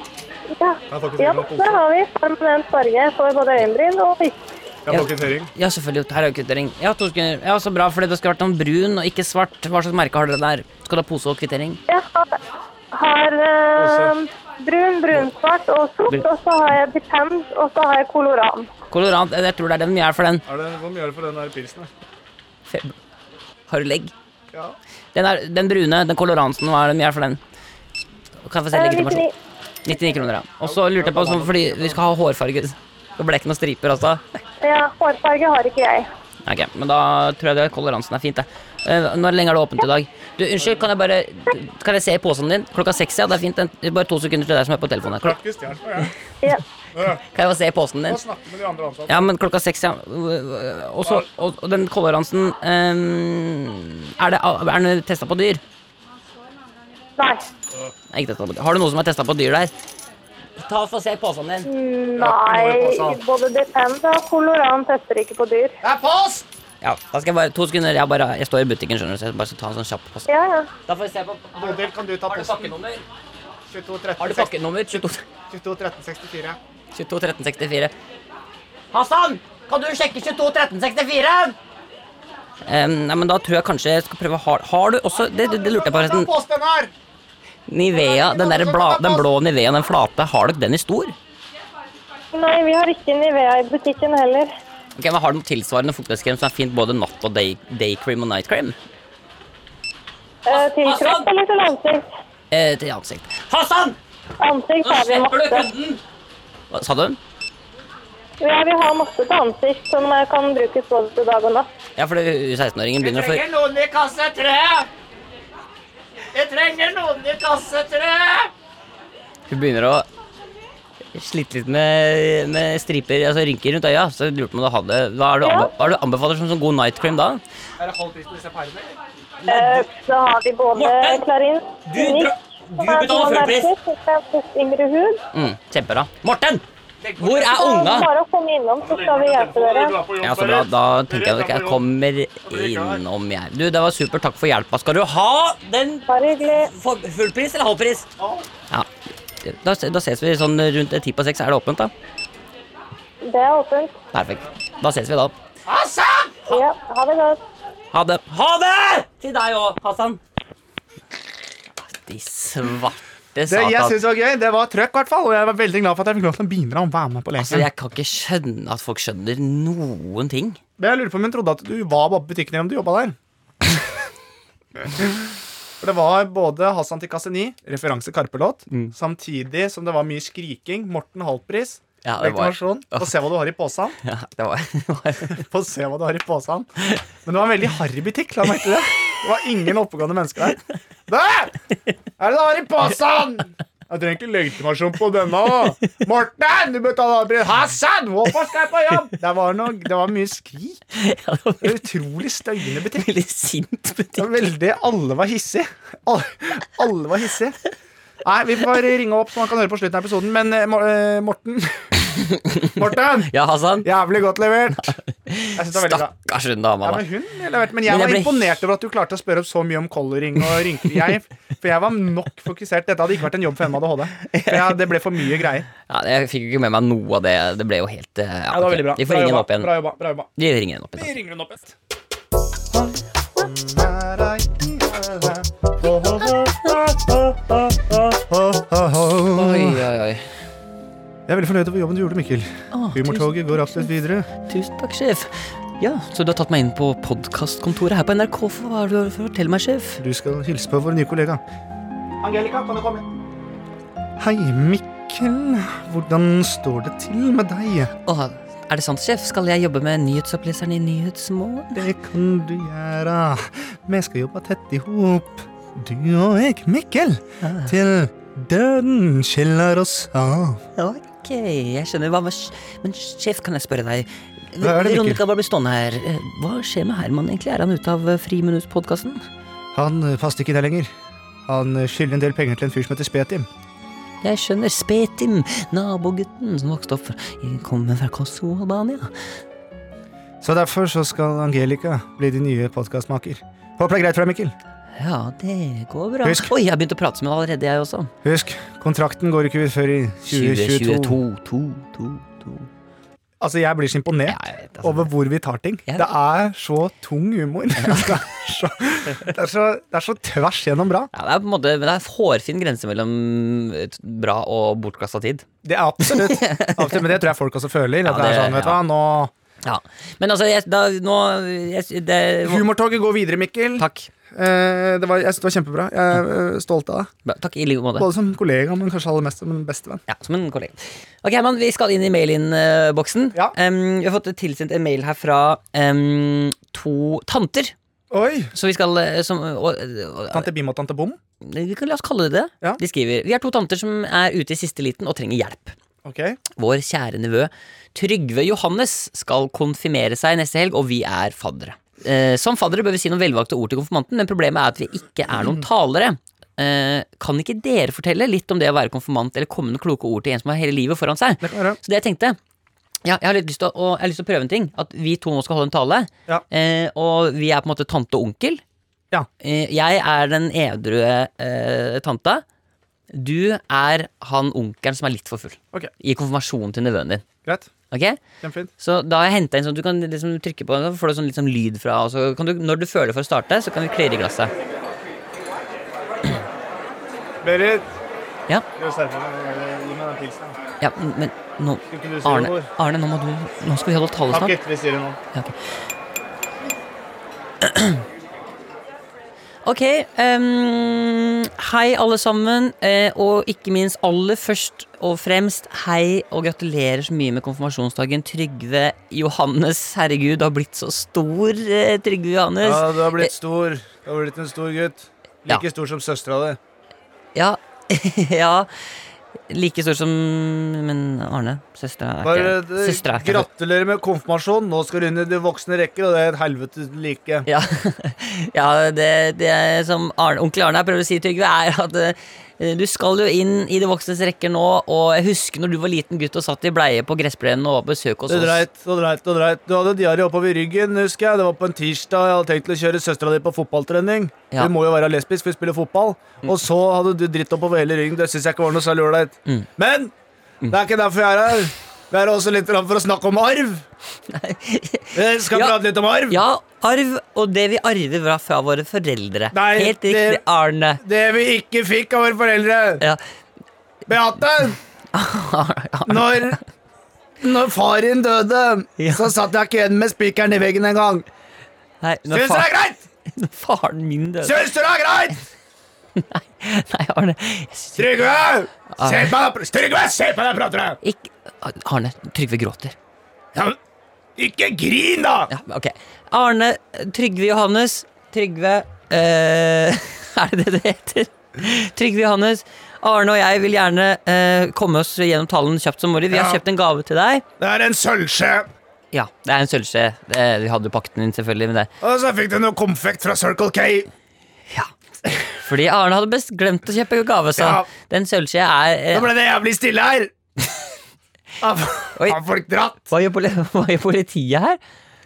Speaker 6: Ja,
Speaker 3: Jeg får
Speaker 6: ja
Speaker 3: kvittering og
Speaker 6: der
Speaker 3: pose.
Speaker 6: har vi permanent farge for både øyenbryn og fisk.
Speaker 3: Jeg får kvittering.
Speaker 2: Ja, selvfølgelig. Her er jo kvittering. Ja, to sekunder. Ja, så bra, fordi det skal vært noen brun og ikke svart. Hva slags merke har dere der? Skal du ha pose og kvittering?
Speaker 6: Jeg har, har eh, brun, brunsvart og sort, og så har jeg Depend, og så har jeg Coloran.
Speaker 2: Kolorant, eh, jeg tror det er den vi er for den.
Speaker 3: Er det, hvor mye er det for den der pilsen?
Speaker 2: Fe- Har du legg?
Speaker 3: Ja.
Speaker 2: Den, er, den brune, den koloransen, hva er den vi er for den? Kan jeg få se
Speaker 6: Eh,
Speaker 2: legitimasjon?
Speaker 6: 99.
Speaker 2: 99 kroner, ja. Og så lurte jeg på, sånn, fordi vi skal ha hårfarge. Det ble ikke noen striper, altså.
Speaker 6: Ja, hårfarge har ikke jeg.
Speaker 2: Ok, men da tror jeg det koloransen er fint, det. Eh, Når lenge er det åpent i dag? Du, unnskyld, kan jeg bare Kan jeg se i posen din? Klokka seks, ja, det er fint. Den- Bare to sekunder til deg som er på telefonen. her.
Speaker 3: Praktisk hjelp. ja.
Speaker 6: Ja.
Speaker 2: Kan jeg bare se i posen din?
Speaker 3: Må snakke med de andre ansatte.
Speaker 2: Ja, men klokka seks, ja. Og, så, og, og den koloransen ehm, Er det- er den testa på dyr?
Speaker 6: Nei.
Speaker 2: Nei, Ikke testet på dyr. Har du noe som er testa på dyr der? Ta og Få se posen din.
Speaker 6: Nei, både Depend og Coloran tester ikke på dyr.
Speaker 2: Ja, da skal jeg bare, to sekunder. Jeg, bare, jeg står i butikken, skjønner du, så jeg bare skal ta en sånn kjapp post.
Speaker 6: Ja, ja.
Speaker 2: Da får vi se på Har
Speaker 3: Bodil, kan du ta
Speaker 2: du
Speaker 3: posten?
Speaker 2: pakkenummer?
Speaker 3: 22
Speaker 2: Har du
Speaker 3: 13
Speaker 2: pakkenummer? 22
Speaker 3: 22 13 64.
Speaker 2: 22 13 64. Hassan, kan du sjekke 22 13 64? nei, men da tror jeg kanskje jeg skal prøve hard. Har du også Det, det, det lurte jeg på, forresten.
Speaker 3: Post den her!
Speaker 2: Nivea, den, der bla, den blå Nivea, den flate, har dere den i stor?
Speaker 6: Nei, vi har ikke Nivea i butikken heller.
Speaker 2: Ok, men Har du noen tilsvarende fuktighetskrem som er fint både natt og day, day cream og night cream?
Speaker 6: Eh, til kropp eller til ansikt?
Speaker 2: Eh, til ansikt. Hassan!
Speaker 6: Ansikt har vi masse.
Speaker 2: kunden! Hva sa du?
Speaker 6: Ja, vi har masse til ansikt som eh, kan brukes både til dag og natt.
Speaker 2: Ja, for det- 16-åringen begynner å få
Speaker 7: noen i kasse tre! Jeg trenger noen i kasse tre!
Speaker 2: Hun begynner å slite litt med, med striper, altså rynker rundt øya. Så jeg lurer på om du hadde Hva er det du, anbe hva er det du anbefaler som sånn god night cream da?
Speaker 3: Er det halv pris på disse pærene?
Speaker 6: Eh, Da har vi både
Speaker 2: Morten,
Speaker 6: Klarin,
Speaker 2: du dra- du betaler fullpris.
Speaker 6: Ingrid Hud.
Speaker 2: Mm, kjempebra. Morten! Hvor er
Speaker 6: Så
Speaker 2: unga?
Speaker 6: Bare å komme innom, så skal vi hjelpe dere.
Speaker 2: Ja, så bra. Da tenker jeg at jeg kommer innom, jeg. Du, det var supert. Takk for hjelpa. Skal du ha den
Speaker 6: Bare hyggelig.
Speaker 2: for full pris eller halv pris? Ja. Da, se- da ses vi sånn rundt ti på seks. Er det åpent, da?
Speaker 6: Det er åpent.
Speaker 2: Perfekt. Da ses vi da.
Speaker 6: Ja, ha det godt.
Speaker 2: Ha det. Ha det! Til deg òg, Hassan. De svarte
Speaker 3: Det jeg
Speaker 2: satan.
Speaker 3: synes det var gøy, det var trøkk, i hvert fall. Og jeg var veldig glad for at jeg fikk lov til å bidra og være med på
Speaker 2: Altså,
Speaker 3: leken.
Speaker 2: jeg kan ikke skjønne at folk skjønner noen ting.
Speaker 3: Men jeg lurer på om hun trodde at du var bare på butikken eller om du jobba der. For det var både Hassan til Kaseni, referanse Karpe-låt,
Speaker 2: Mm.
Speaker 3: samtidig som det var mye skriking. Morten halvpris.
Speaker 2: Ja, det var-
Speaker 3: Legitimasjon. Få se hva du har i posen.
Speaker 2: Ja, det var
Speaker 3: Få se hva du har i posen. Men det var en veldig harry butikk. La meg merke til det. Det var ingen oppegående mennesker der. Der! Er det du har i posen? Jeg trenger ikke legitimasjon på denne. Morten, du betaler aldri. Hassan, hvorfor skal jeg på jobb? Det var, noe, det var mye skrik.
Speaker 2: Ja, det var
Speaker 3: Det var Utrolig støyende butikk.
Speaker 2: veldig sint
Speaker 3: Det
Speaker 2: butikk.
Speaker 3: var veldig, Alle var hissige. Alle, alle var hissige. Nei, vi får ringe opp, så man kan høre på slutten av episoden. Men eh, Mor- eh, Morten Morten!
Speaker 2: Ja, Hassan.
Speaker 3: Jævlig godt levert. Jeg synes det var veldig bra.
Speaker 2: Stakkars hun dama,
Speaker 3: Ja,
Speaker 2: da.
Speaker 3: men hun leverte, men jeg,
Speaker 2: Men jeg
Speaker 3: var
Speaker 2: ble-
Speaker 3: imponert over at du klarte å spørre opp så mye om coloring og rynker. Jeg, for jeg var nok fokusert. Dette hadde ikke vært en jobb for henne med ADHD. For jeg, det ble for mye greier.
Speaker 2: Ja, jeg fikk jo ikke med meg noe av det. Det ble jo helt eh, ja, ok. Vi får ringe henne opp igjen.
Speaker 3: Bra jobba. Bra jobba.
Speaker 2: Vi ringer henne opp igjen.
Speaker 3: Vi ringer henne opp igjen.
Speaker 2: Oi, oi, oi.
Speaker 3: Jeg er veldig fornøyd over jobben du gjorde, Mikkel. Humortoget går absolutt videre.
Speaker 2: Tusen takk, sjef. Ja, så du har tatt meg inn på podkastkontoret her på NRK. For hva er det du har for å fortelle meg, sjef?
Speaker 3: Du skal hilse på vår nye kollega. Angelica, kan du komme? Hei, Mikkel. Hvordan står det til med deg?
Speaker 2: Åh, er det sant, sjef? Skal jeg jobbe med nyhetsoppleseren i Nyhetsmorgen?
Speaker 3: Det kan du gjøre. Vi skal jobbe tett i hop. Du og jeg, Mikkel. Til døden skiller oss av.
Speaker 2: Ok, jeg skjønner. Hva, hva sj- men sjef, kan jeg spørre deg?
Speaker 3: Hva er det, Mikkel?
Speaker 2: Veronica, bare bli stående her. Eh, Hva skjer med Herman egentlig? Er han ute av eh, Friminuttpodkasten?
Speaker 3: Han eh, passer ikke der lenger. Han eh, skylder en del penger til en fyr som heter Spetim.
Speaker 2: Jeg skjønner. Spetim, nabogutten som vokste opp i- Kommer fra Kosovo, Albania.
Speaker 3: Så derfor så skal Angelica bli din nye podkastmaker. Håper det er greit for deg, Mikkel.
Speaker 2: Ja, det går bra.
Speaker 3: Husk-
Speaker 2: Oi, jeg begynte å prate med henne allerede, jeg også.
Speaker 3: Husk, kontrakten går ikke ut før i 2022.
Speaker 2: 20, 2, 2.
Speaker 3: Altså, jeg blir så imponert.
Speaker 2: Ja, jeg vet, altså.
Speaker 3: Over hvor vi tar ting.
Speaker 2: Ja.
Speaker 3: Det er så tung humor. Det er så, det er så, det er så tvers gjennom bra.
Speaker 2: Ja, det er på en måte men det er en hårfin grense mellom et bra og bortkasta tid.
Speaker 3: Det er absolutt. absolutt. Men det tror jeg folk også føler. At
Speaker 2: Ja,
Speaker 3: det,
Speaker 2: det-
Speaker 3: er sånn, vet du
Speaker 2: ja.
Speaker 3: hva, nå
Speaker 2: Ja. Men altså, jeg, da, nå jeg, det,
Speaker 3: Humortoget går videre, Mikkel.
Speaker 2: Takk.
Speaker 3: Eh, det, var, jeg synes det var kjempebra. Jeg er eh, stolt av deg.
Speaker 2: Bra, Takk i like måte.
Speaker 3: Både som kollega, men kanskje aller mest som en bestevenn.
Speaker 2: Ja, som en kollega. Ok, Herman, vi skal inn i mail-in-boksen.
Speaker 3: Ja.
Speaker 2: Em, vi har fått tilsendt en mail her fra em, to tanter.
Speaker 3: Oi!
Speaker 2: Så vi skal eh, som, og, og,
Speaker 3: Tante Bim og tante Bom.
Speaker 2: Vi kan la oss kalle det det.
Speaker 3: Ja.
Speaker 2: De skriver Vi er to tanter som er ute i siste liten og trenger hjelp.
Speaker 3: Ok.
Speaker 2: Vår kjære nevø Trygve Johannes skal konfirmere seg neste helg, og vi er faddere. Eh, som faddere bør vi si noen velvalgte ord til konfirmanten, men problemet er at vi ikke er noen talere. Eh, kan ikke dere fortelle litt om det å være konfirmant, eller komme med noen kloke ord til en som har hele livet foran seg?
Speaker 3: Det kan være.
Speaker 2: Så det jeg tenkte ja, jeg, har litt lyst til å, og jeg har lyst til å prøve en ting. At vi to nå skal holde en tale.
Speaker 3: Ja.
Speaker 2: Eh, og vi er på en måte tante og onkel.
Speaker 3: Ja.
Speaker 2: Eh, jeg er den edru eh, tanta. Du er han onkelen som er litt for full.
Speaker 3: Ok.
Speaker 2: I konfirmasjonen til nevøen din.
Speaker 3: Greit.
Speaker 2: Ok?
Speaker 3: Kjempefint.
Speaker 2: Så da har jeg hentet inn sånn at du kan liksom trykke på den, så får du sånn litt sånn lyd fra. Og så kan du, når du føler for å starte, så kan vi klirre i glasset.
Speaker 3: Berit.
Speaker 2: Ja.
Speaker 3: Gi oss Gi meg den pilsen.
Speaker 2: Ja, men nå
Speaker 3: Skulle ikke du si
Speaker 2: Arne,
Speaker 3: noe?
Speaker 2: Arne nå, må du, nå skal vi holde tale snart.
Speaker 3: vi sier det nå.
Speaker 2: Ja, ok. Ok, ehm, hei alle sammen, eh, og ikke minst aller først og fremst hei og gratulerer så mye med konfirmasjonsdagen. Trygve Johannes, herregud, du har blitt så stor, eh, Trygve Johannes.
Speaker 3: Ja, du har blitt stor. Du har blitt en stor gutt. Like stor som søstera di.
Speaker 2: Ja, ja. Like stor som Men Arne, søstera
Speaker 3: Bare
Speaker 2: er ikke
Speaker 3: eh,
Speaker 2: søstera er ikke-
Speaker 3: gratulerer med konfirmasjon. Nå skal du inn i de voksne rekker, og det er et helvete like.
Speaker 2: Ja, ja det, det som Arne, onkel Arne her prøver å si, Trygve, er at eh, Eh, Du skal jo inn i de voksnes rekker nå, og jeg husker når du var liten gutt og satt i bleie på gressplenen og var på besøk hos
Speaker 3: Du
Speaker 2: oss.
Speaker 3: dreit og dreit og dreit. Du hadde diaré oppover ryggen, husker jeg. Det var på en tirsdag. Jeg hadde tenkt til å kjøre søstera di på fotballtrening.
Speaker 2: Ja. Mm.
Speaker 3: Hun må jo være lesbisk, for hun spiller fotball. Og så hadde du dritt oppover hele ryggen. Det syns jeg ikke var noe særlig ålreit.
Speaker 2: Mm.
Speaker 3: Men det er ikke derfor jeg er her. Vi er også litt for å snakke om arv. Vi skal
Speaker 2: Ja.
Speaker 3: prate litt om arv.
Speaker 2: Ja, arv og det vi arver fra, fra våre foreldre.
Speaker 3: Nei,
Speaker 2: Helt
Speaker 3: det-
Speaker 2: riktig, Arne.
Speaker 3: Det vi ikke fikk av våre foreldre.
Speaker 2: Ja.
Speaker 3: Beate, når, når far din døde,
Speaker 2: Ja.
Speaker 3: så satt jeg ikke igjen med spikeren i veggen engang.
Speaker 2: Nei, når,
Speaker 3: Syns du det er
Speaker 2: far,
Speaker 3: greit?
Speaker 2: når faren min døde
Speaker 3: Syns du det er greit?
Speaker 2: Nei, Arne. Jeg synes
Speaker 3: Trygve!
Speaker 2: Ah.
Speaker 3: Se på deg, Trygve, se på deg, prater jeg!
Speaker 2: ikke Arne, Trygve gråter.
Speaker 3: Ja, men Ikke grin, da!
Speaker 2: Ja, ok. Arne, Trygve Johannes. Trygve eh, Er det det det heter? Trygve Johannes. Arne og jeg vil gjerne eh, komme oss gjennom tallene kjapt som mulig. Vi har
Speaker 3: Ja.
Speaker 2: kjøpt en gave til deg.
Speaker 3: Det er en sølvskje.
Speaker 2: Ja, det er en sølvskje. Det- Vi hadde jo pakket den inn, selvfølgelig. Men det.
Speaker 3: Og så fikk du noe konfekt fra Circle K.
Speaker 2: Ja. Fordi Arne hadde best glemt å kjøpe gave, sa
Speaker 3: Ja.
Speaker 2: han. Den sølvskjea er
Speaker 3: Da
Speaker 2: eh,
Speaker 3: ble det jævlig stille her. Har
Speaker 2: Oi.
Speaker 3: har folk dratt?
Speaker 2: hva, gjør poli hva gjør politiet her?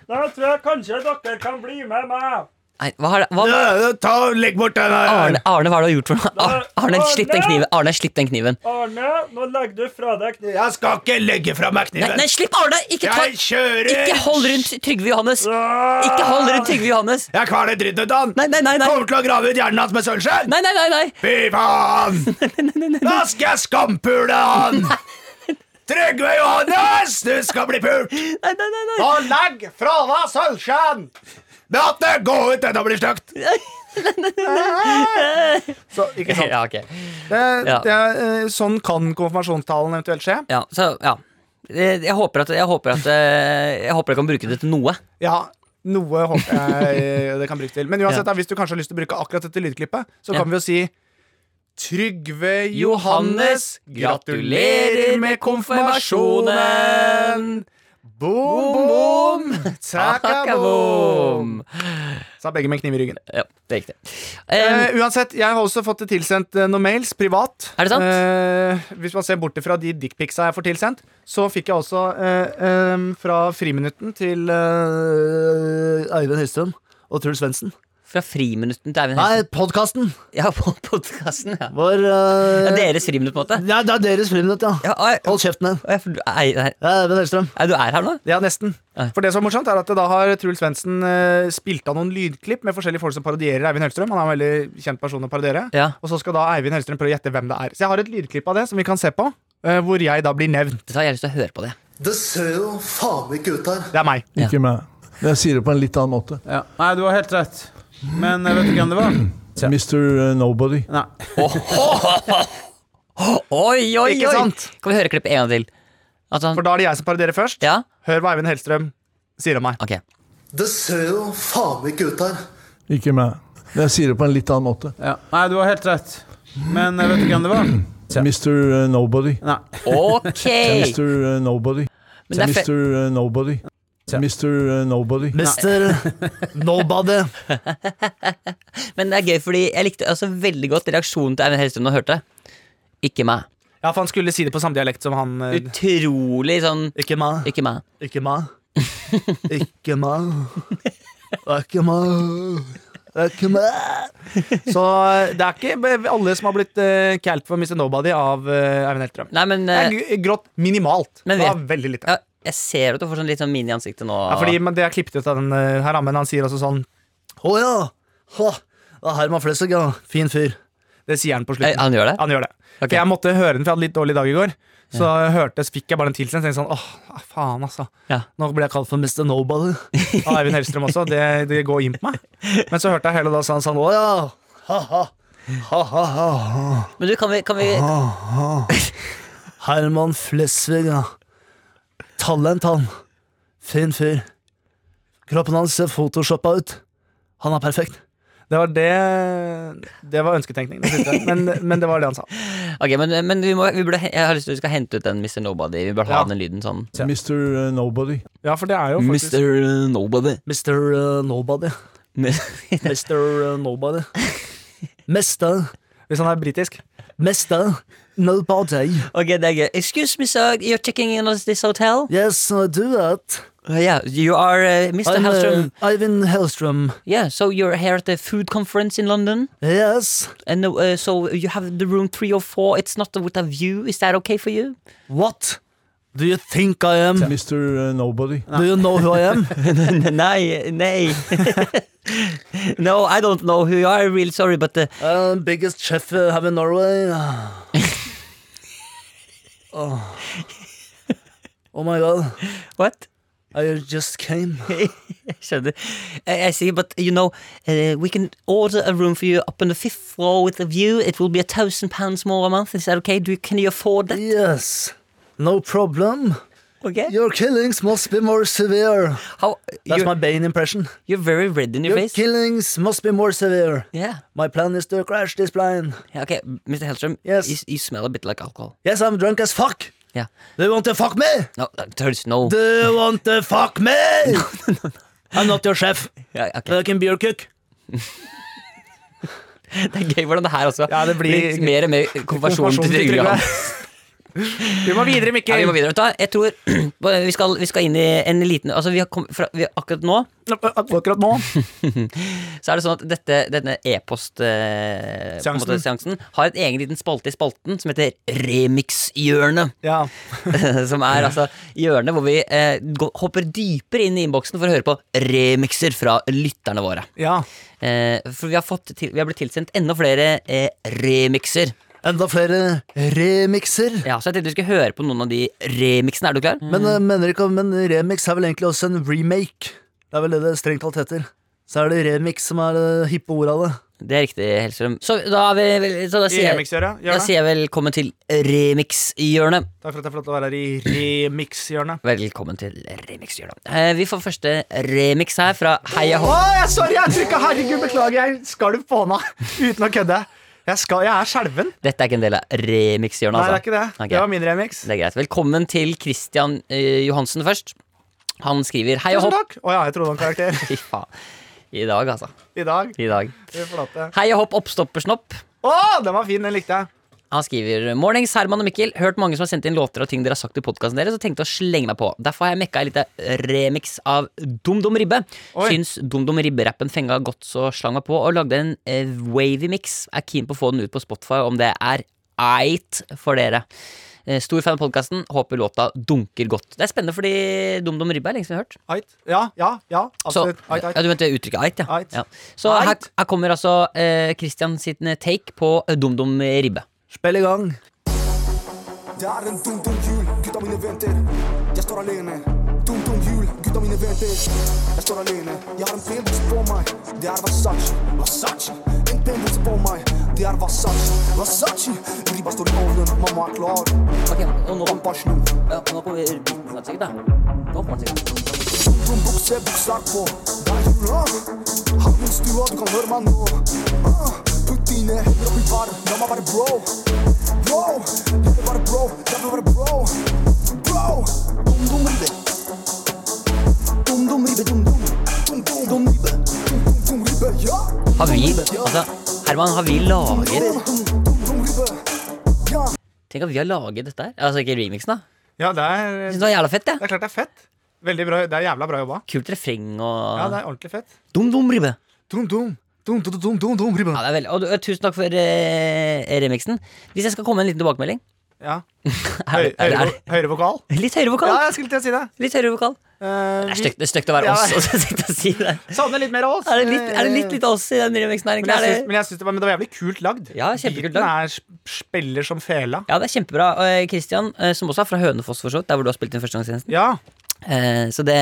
Speaker 7: Da tror jeg kanskje dere kan bli med meg.
Speaker 2: Nei, hva har det hva,
Speaker 3: Ja, ja, Ta og Legg bort den der.
Speaker 2: Arne, Arne, hva har du gjort for noe? Ar- Arne, slipp den kniven. Arne, slipp den kniven.
Speaker 7: Arne, nå legger du fra deg kniven.
Speaker 3: Jeg skal ikke legge fra meg
Speaker 2: Nei,
Speaker 3: kniven.
Speaker 2: nei slipp Arne! Ikke, ta,
Speaker 3: jeg kjører!
Speaker 2: ikke hold rundt Trygve Johannes! Ikke hold rundt Trygve Johannes!
Speaker 3: Jeg kveler dritten ut av han.
Speaker 2: Nei, nei, nei, nei.
Speaker 3: Kommer til å grave ut hjernen hans med sølvskje.
Speaker 2: Nei, nei, nei! nei.
Speaker 3: Fy faen! Da skal jeg skampule han! Trygve Johannes, du skal bli pult!
Speaker 2: nei, nei, nei, nei.
Speaker 3: Og legg fra deg sølvskjeen! Beate, gå ut! Dette blir stygt! Så, ikke sant.
Speaker 2: Ja, ok.
Speaker 3: Det,
Speaker 2: Ja.
Speaker 3: det er, eh, sånn kan konfirmasjonstalen eventuelt skje.
Speaker 2: Ja, så, ja. Jeg jeg håper at jeg, håper at, eh, jeg håper jeg kan bruke det til noe.
Speaker 3: Ja, noe håper jeg eh, det kan brukes til. Men uansett, da, hvis du kanskje har lyst til å bruke akkurat dette lydklippet, så
Speaker 2: Ja.
Speaker 3: kan vi jo si Trygve Johannes, gratulerer med konfirmasjonen! Boom, boom, takabom!
Speaker 2: Takabom!
Speaker 3: Sa begge med en kniv i ryggen.
Speaker 2: Ja, det er riktig. Eh,
Speaker 3: Eh, uansett, jeg har også fått det tilsendt eh, noen mails privat.
Speaker 2: Er det sant?
Speaker 3: Eh, hvis man ser bort fra de dickpicsa jeg får tilsendt, så fikk jeg også eh, eh, fra friminutten til eh, Eivind Høystrøm og Truls Svendsen.
Speaker 2: fra friminutten til Eivind
Speaker 3: Nei,
Speaker 2: Helsen.
Speaker 3: podkasten
Speaker 2: Ja, på podkasten. Ja.
Speaker 3: vår eh,
Speaker 2: Ja, deres friminutt, på en måte.
Speaker 3: ja, det er deres friminutt, ja.
Speaker 2: Ja, ai,
Speaker 3: Hold kjeften din.
Speaker 2: ai, for du- ei, nei.
Speaker 3: Det er Eivind Høystrøm.
Speaker 2: Ei, du er her nå?
Speaker 3: Ja, nesten.
Speaker 2: Ja.
Speaker 3: For det som er morsomt, er at da har Truls Svendsen eh, spilt av noen lydklipp med forskjellige folk som parodierer Eivind Hellstrøm. Han er en veldig kjent person å parodiere.
Speaker 2: Ja.
Speaker 3: Og så skal da Eivind Hellstrøm prøve å gjette hvem det er. Så jeg har et lydklipp av det som vi kan se på, eh, hvor jeg da blir nevnt.
Speaker 2: Det har jeg lyst til å høre på det.
Speaker 8: Det ser jo faen ikke ut her.
Speaker 3: Det er meg.
Speaker 2: Ja.
Speaker 9: Ikke meg. Men jeg sier det på en litt annen måte.
Speaker 10: Ja. Nei, du har helt rett. Men eh, vet du hvem det var?
Speaker 9: Mr. uh, Nobody.
Speaker 10: Nei.
Speaker 2: Oi, oi,
Speaker 3: Ikke
Speaker 2: oi!
Speaker 3: sant?
Speaker 2: Kan vi høre klippet en gang til? At han,
Speaker 3: For da er det jeg som parodierer først.
Speaker 2: ja?
Speaker 3: Hør hva Eivind Hellstrøm sier om meg.
Speaker 2: Ok.
Speaker 8: Det ser jo faen ikke ut her.
Speaker 9: Ikke meg. Men jeg sier det på en litt annen måte.
Speaker 10: Ja. Nei, du har helt rett. Men eh, vet du hvem det var?
Speaker 9: Mr. uh, Nobody.
Speaker 10: Nei.
Speaker 2: Ok!
Speaker 9: Mr. Nobody.
Speaker 2: Men det er fe-
Speaker 9: Mr. Nobody. Mr. Nobody.
Speaker 3: Mister Nobody.
Speaker 2: Men det er gøy, fordi jeg likte altså, veldig godt reaksjonen til Eivind Hellstrøm da jeg hørte. Ikke meg.
Speaker 3: Ja, for han skulle si det på samme dialekt som han eh,
Speaker 2: Utrolig sånn
Speaker 3: Ikke meg.
Speaker 2: Ikke meg.
Speaker 3: Ikke meg. Ikke meg. Det er Ikke meg. Det er Ikke meg. Så det er ikke be- alle som har blitt eh, kalt for Mr. Nobody av eh, Eivind Hellstrøm.
Speaker 2: Nei, men eh,
Speaker 3: Jeg gr- gråt minimalt.
Speaker 2: Men
Speaker 3: Det var
Speaker 2: vet-
Speaker 3: veldig lite.
Speaker 2: ja, jeg ser at du får sånn litt sånn mini i ansiktet nå.
Speaker 3: Ja, fordi, men det er klippet ut av den eh, her, da, men han sier altså sånn Å ja. Hå, det er Herman Flesvig, ja. Fin fyr. Det sier han på
Speaker 2: Eh,
Speaker 3: slutten.
Speaker 2: han gjør det?
Speaker 3: Han gjør det.
Speaker 2: Ok.
Speaker 3: For jeg måtte høre den, for jeg hadde litt dårlig dag i går. Så hørtes, fikk jeg bare den tilsendt. Tenkte sånn, åh, faen altså
Speaker 2: Ja.
Speaker 3: Nå ble jeg kalt for Mr. Nobody av Eivind Hellstrøm også. Det, det går inn på meg. Men så hørte jeg hele da sa han sånn, åh ja. Ha-ha. Ha-ha-ha.
Speaker 2: Men du, kan vi, kan vi
Speaker 3: Ah. Herman Flesvig, ja. Talent, han. Fin fyr. Kroppen hans ser photoshoppa ut. Han er perfekt. Det var det Det var ønsketenkning, det siste. Men, men det var det han sa.
Speaker 2: Ok, men, men vi må, vi burde, jeg har lyst til at vi skal hente ut den Mr. Nobody. Vi bør ha
Speaker 3: Ja.
Speaker 2: den lyden sånn.
Speaker 9: Mr. uh, Nobody.
Speaker 3: Ja, for det er jo faktisk
Speaker 2: Mr. Nobody.
Speaker 3: Mr. uh, Nobody. Mr. Nobody. Mester Hvis han er britisk. Mister nobody.
Speaker 2: Ok, det er gøy. Excuse me, sir, you're checking in on this hotel?
Speaker 3: Yes, I do that.
Speaker 2: Uh, yeah, you are uh, Mr.
Speaker 3: I'm, uh,
Speaker 2: Hellstrom.
Speaker 3: Ivan Hellstrom.
Speaker 2: Yeah, so you're here at the food conference in London,
Speaker 3: Yes.
Speaker 2: and uh, so you have the room three or four. It's not with a view. Is that okay for you?
Speaker 3: What do you think I am?
Speaker 9: Mr. uh, Nobody.
Speaker 3: Do you know who I am?
Speaker 2: nei, nei. no, I don't know who you are. I'm really sorry, but uh,
Speaker 3: Uh, biggest chef uh, have in Norway. Ah. oh. oh my god,
Speaker 2: what?
Speaker 3: I just came.
Speaker 2: Skjønner. I, I see, but you know, uh, we can order a room for you up on the fifth floor with a view. It will be a thousand pounds more a month. Is that okay? Do you, can you afford that?
Speaker 3: Yes, no problem.
Speaker 2: Okay.
Speaker 3: Your killings must be more severe.
Speaker 2: How
Speaker 3: That's
Speaker 2: you're,
Speaker 3: my Bane impression.
Speaker 2: you're very red in your,
Speaker 3: Your
Speaker 2: face.
Speaker 3: killings must be more severe.
Speaker 2: yeah.
Speaker 3: My plan is to crash this plane.
Speaker 2: yeah. Okay, Mr. Hellstrom.
Speaker 3: Yes.
Speaker 2: You, you smell a bit like alcohol.
Speaker 3: Yes, I'm drunk as fuck.
Speaker 2: Yeah.
Speaker 3: Do you want to fuck me?
Speaker 2: No, uh, there's no.
Speaker 3: Do you want to fuck me? I'm not your chef.
Speaker 2: ja, ok.
Speaker 3: I can be your cook.
Speaker 2: Det er gøy hvordan det her også
Speaker 3: Ja, det blir-
Speaker 2: litt mer og mer konfirmasjon til Trygve. Hansen.
Speaker 10: Vi må videre,
Speaker 2: Ja, vi
Speaker 10: Mikkel.
Speaker 2: må videre. Vet du hva, Jeg tror vi skal, vi skal inn i en liten altså vi har kommet fra, vi, Akkurat nå
Speaker 3: Akkurat nå.
Speaker 2: så er det sånn at dette, denne
Speaker 10: Seansen.
Speaker 2: e-post-seansen har en egen liten spalte i spalten som heter Remix-hjørnet.
Speaker 3: Ja.
Speaker 2: som er altså hjørnet hvor vi eh, gå- hopper dypere inn i innboksen for å høre på remixer fra lytterne våre.
Speaker 3: ja.
Speaker 2: Eh, for vi har, fått til, vi har blitt tilsendt enda flere eh, remixer.
Speaker 3: Enda flere remixer.
Speaker 2: Ja, Så jeg tenkte vi skulle høre på noen av de remixene. Er du klar?
Speaker 3: Men, eh, mener ikke, men remix er vel egentlig også en remake. Det er vel det det strengt talt heter. Så er det remix som er det hippe ordet av det.
Speaker 2: Det er riktig, Hellstrøm. Så da, er vi, vel- så da
Speaker 10: I
Speaker 2: sier jeg
Speaker 10: remix-hjørnet.
Speaker 2: Da
Speaker 10: Gjør det.
Speaker 2: sier jeg velkommen til remix-hjørnet.
Speaker 10: Takk for at jeg får lov til å være her i remix-hjørnet.
Speaker 2: Velkommen til remix-hjørnet. Eh, vi får første remix her fra Heia Hå.
Speaker 10: jeg, sorry, jeg trykka. Herregud, beklager. Jeg skalv på hånda uten å kødde. Jeg, er skjelven.
Speaker 2: Dette er ikke en del av remix-hjørnet, altså. Ok.
Speaker 10: min remix.
Speaker 2: Det er greit. Velkommen til Christian eh, Johansen først. Han skriver Heia hopp.
Speaker 10: takk. Å ja, jeg trodde han karakter.
Speaker 2: Fy faen. I dag, altså.
Speaker 10: I dag.
Speaker 2: I dag.
Speaker 10: Flate.
Speaker 2: Heia hopp, oppstoppersnopp.
Speaker 10: Å, den var fin. Den likte jeg.
Speaker 2: Han skriver Mornings, Herman og Mikkel. Hørt mange som har sendt inn låter og ting dere har sagt i podkasten deres, og tenkte å slenge meg på. Derfor har jeg mekka en liten remix av Dum Dum Ribbe.
Speaker 10: Oi.
Speaker 2: Syns Dum Dum Ribbe-rappen fenga godt, så slang meg på, og lagde en eh, wavy mix. Er keen på å få den ut på Spotify, om det er eit for dere. Eh, Stor fan av podkasten. Håper låta dunker godt. Det er spennende, fordi Dum Dum Ribbe er lenge siden vi har hørt.
Speaker 10: Ait. Ja, ja, ja.
Speaker 2: Så,
Speaker 10: Absolutt. Ait, ait.
Speaker 2: Ja, du mente uttrykket eit, ja.
Speaker 10: Eit.
Speaker 2: ja. Så her,
Speaker 10: Eit.
Speaker 2: her kommer altså eh, Christian sitt eh, take på eh, Dum Dum Ribbe.
Speaker 3: Spill i gang.
Speaker 11: Det er en dum, dum jul, gutta mine venter. Jeg står alene. Dum, dum jul, gutta mine venter. Jeg står alene. Jeg har en pendus på meg. Det er Versace, Versace. En pendus på meg. Det er Versace, Versace. Ribba står i ovnen, mamma er klar.
Speaker 2: Ok, og nå
Speaker 11: Pampa snu.
Speaker 2: Ja, nå kommer biten snart sikkert, da. Nå kommer den sikkert.
Speaker 11: Dum bukse, bukser på. Det er jula. Havnestua, du kan høre meg nå. Ah, Putt dine hender opp i varm. La meg være bro. Bro. Jeg vil være bro. Jeg vil være bro. Bro. Dum, dum, ribbe. Dum, dum, ribbe, dum, dum. Dum, dum, dum, ribbe. Dum, dum, dum, ribbe, ja.
Speaker 2: Har vi, altså, Herman, har vi laget
Speaker 11: Dum, dum, dum, ribbe. Ja.
Speaker 2: Tenk at vi har laget dette her. Altså ikke remixen, da.
Speaker 10: Ja, det er,
Speaker 2: Jeg synes
Speaker 10: det
Speaker 2: det var jævla fett, jeg.
Speaker 10: er klart det er fett. Veldig bra. Det er jævla bra jobba.
Speaker 2: Kult refreng
Speaker 10: Ja,
Speaker 2: og
Speaker 10: det er ordentlig fett.
Speaker 2: Dum dum ribbe.
Speaker 3: Dum, dum. Dum, dum, dum, dum, dum, ribba.
Speaker 2: Ja, det er veldig, og du, tusen takk for eh, remixen. Hvis jeg skal komme med en liten tilbakemelding
Speaker 10: Ja.
Speaker 2: er,
Speaker 10: Høy,
Speaker 2: det- er, det-
Speaker 10: høyre, høyre vokal.
Speaker 2: er, Litt høyere vokal.
Speaker 10: Ja, jeg skulle til å si det.
Speaker 2: Litt høyere vokal.
Speaker 10: Eh,
Speaker 2: Det er
Speaker 10: vi
Speaker 2: stygt, det er stygt å være
Speaker 10: Ja.
Speaker 2: oss. Og så sitte og si det.
Speaker 10: savner litt mer av oss. Eh,
Speaker 2: Er det litt, er det litt, litt oss i den remixen her,
Speaker 10: Men jeg, syns,
Speaker 2: egentlig? Er det,
Speaker 10: men jeg syns det var, men det var jævlig kult lagd.
Speaker 2: Ja, kjempekult
Speaker 10: Beaten er sp- spiller som fela.
Speaker 2: ja, det er kjempebra. Og Christian, eh, som også er fra Hønefoss, for så vidt, der hvor du har spilt din førstegangstjeneste.
Speaker 10: Ja.
Speaker 2: Eh, så det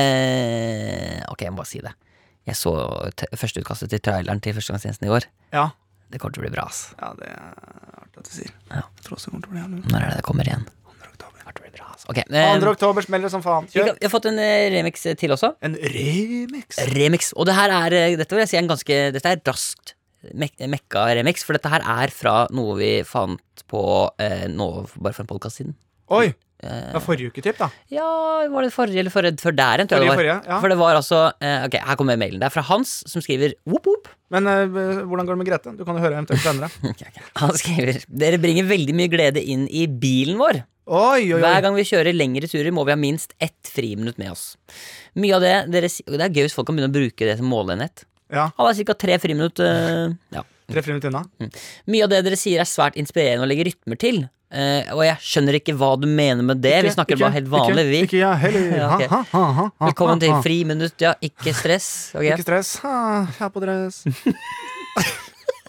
Speaker 2: Ok, jeg må bare si det. Jeg så t førsteutkastet til traileren til Førstegangstjenesten i år.
Speaker 10: Ja.
Speaker 2: Det kommer til å bli bra, ass.
Speaker 10: ja, det er artig at du sier.
Speaker 2: Ja.
Speaker 10: Jeg tror også det kommer til å bli jævlig bra.
Speaker 2: Når er det det kommer igjen?
Speaker 10: oktober.
Speaker 2: Kommer til å bli bra, ass. Ok, eh,
Speaker 10: 2. oktober smeller det som faen.
Speaker 2: vi,
Speaker 10: Kjør.
Speaker 2: kan- vi har fått en eh, remix til også.
Speaker 10: En remix.
Speaker 2: Remix. Og det her er eh, Dette vil jeg si er en ganske Dette er raskt mek mekka remix, for dette her er fra noe vi fant på eh, nå bare for en podkast siden.
Speaker 10: Oi.
Speaker 2: eh,
Speaker 3: Ja, forrige uke, typ, da.
Speaker 2: Ja, var det forrige eller forrige før der igjen, tror jeg det var.
Speaker 3: Forrige, forrige, ja.
Speaker 2: For det var altså eh, Ok, her kommer mailen. Det er fra Hans, som skriver whoop, whoop.
Speaker 3: Men eh, hvordan går det med Grete? Du kan jo høre eventuelt senere.
Speaker 2: Han skriver Dere bringer veldig mye glede inn i bilen vår.
Speaker 3: Oi, oi,
Speaker 2: Hver
Speaker 3: oi.
Speaker 2: gang vi kjører lengre turer, må vi ha minst ett friminutt med oss. Mye av det dere si- Det er gøy hvis folk kan begynne å bruke det som måleenhet.
Speaker 3: Ja.
Speaker 2: Han har ca. tre friminutt. eh, ja.
Speaker 3: Tre friminutt unna.
Speaker 2: Mye av det dere sier, er svært inspirerende og legger rytmer til. eh, og jeg skjønner ikke hva du mener med det. Eh, vi
Speaker 3: Ikke-
Speaker 2: snakker bare helt vanlig,
Speaker 3: ikke,
Speaker 2: vi.
Speaker 3: Ikke, ja, heller.
Speaker 2: Ja, ok.
Speaker 3: ha, ha, ha, ha,
Speaker 2: Velkommen til
Speaker 3: ha.
Speaker 2: friminutt, ja. Ikke stress. ok?
Speaker 3: Ikke stress. Ha, jeg er på dress.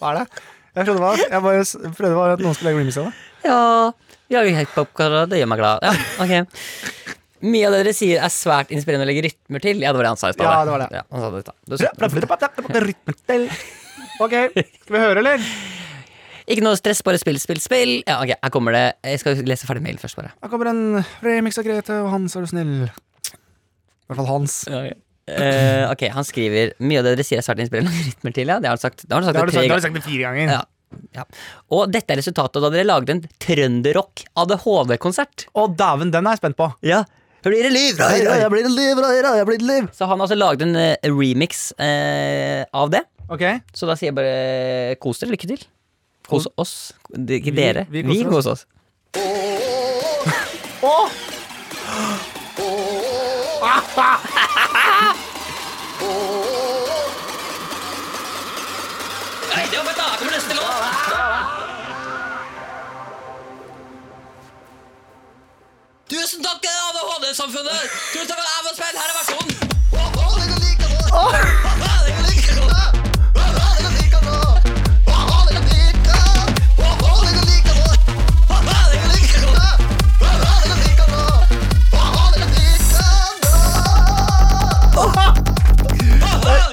Speaker 3: Hva er det? Jeg trodde det var Jeg bare s- prøvde bare at noen skulle legge remix av det.
Speaker 2: Ja, jeg er helt popkorn, det gjør meg glad. Ja, ok. Mye av det dere sier, er svært inspirerende å legge rytmer til. Ja, det var det han sa i stad.
Speaker 3: Ja,
Speaker 2: da.
Speaker 3: det var det.
Speaker 2: Ja, han sa det i stad. Du-
Speaker 3: Ok, skal vi høre, eller?
Speaker 2: Ikke noe stress, bare spill, spill, spill. Ja, ok, her kommer det. Jeg skal lese ferdig mailen først, bare.
Speaker 3: Her kommer en remix av Grete og Hans, er du snill. I hvert fall Hans.
Speaker 2: Eh, ok, Han skriver mye av det dere sier er svært inspirerende og rytmer til. Ja. Det har han sagt, det har han sagt,
Speaker 3: Det har du
Speaker 2: tre
Speaker 3: sagt, det
Speaker 2: ganger.
Speaker 3: har du sagt det fire ganger.
Speaker 2: Ja, ja. Og dette er resultatet da dere lagde en trønderrock ADHD-konsert.
Speaker 3: Å, dæven, den er jeg spent på.
Speaker 2: Ja. Det blir det liv, da,
Speaker 3: Hei,
Speaker 2: da,
Speaker 3: hei,
Speaker 2: da,
Speaker 3: jeg blir et liv, hei, hei, jeg blir et liv.
Speaker 2: Så han har altså laget en eh, remix eh, av det.
Speaker 3: Ok,
Speaker 2: Så da sier jeg bare kos dere, lykke til. Kos oss. Det er Ikke dere.
Speaker 3: vi
Speaker 2: Vi,
Speaker 3: koser oss.
Speaker 2: koser oss. Tusen takk til ADHD-samfunnet! Tusen takk for at jeg Her er versjonen!